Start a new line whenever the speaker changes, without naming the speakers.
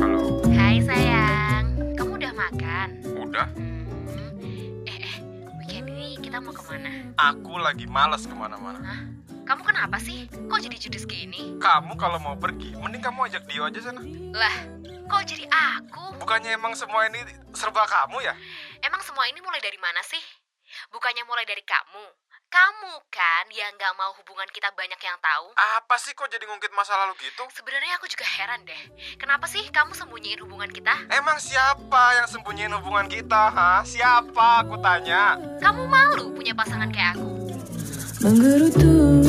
Halo,
Hai sayang, kamu udah makan?
udah?
Hmm. Eh, eh, weekend ini kita mau kemana?
Aku lagi malas kemana-mana.
Hah? Kamu kenapa sih? Kok jadi judes gini?
Kamu kalau mau pergi, mending kamu ajak Dio aja sana.
Lah, kok jadi aku?
Bukannya emang semua ini serba kamu ya?
Emang semua ini mulai dari mana sih? Bukannya mulai dari kamu? Kamu kan yang nggak mau hubungan kita banyak yang tahu.
Apa sih kok jadi ngungkit masa lalu gitu?
Sebenarnya aku juga heran deh. Kenapa sih kamu sembunyiin hubungan kita?
Emang siapa yang sembunyiin hubungan kita, ha? Siapa? Aku tanya.
Kamu malu punya pasangan kayak aku.
menggerutu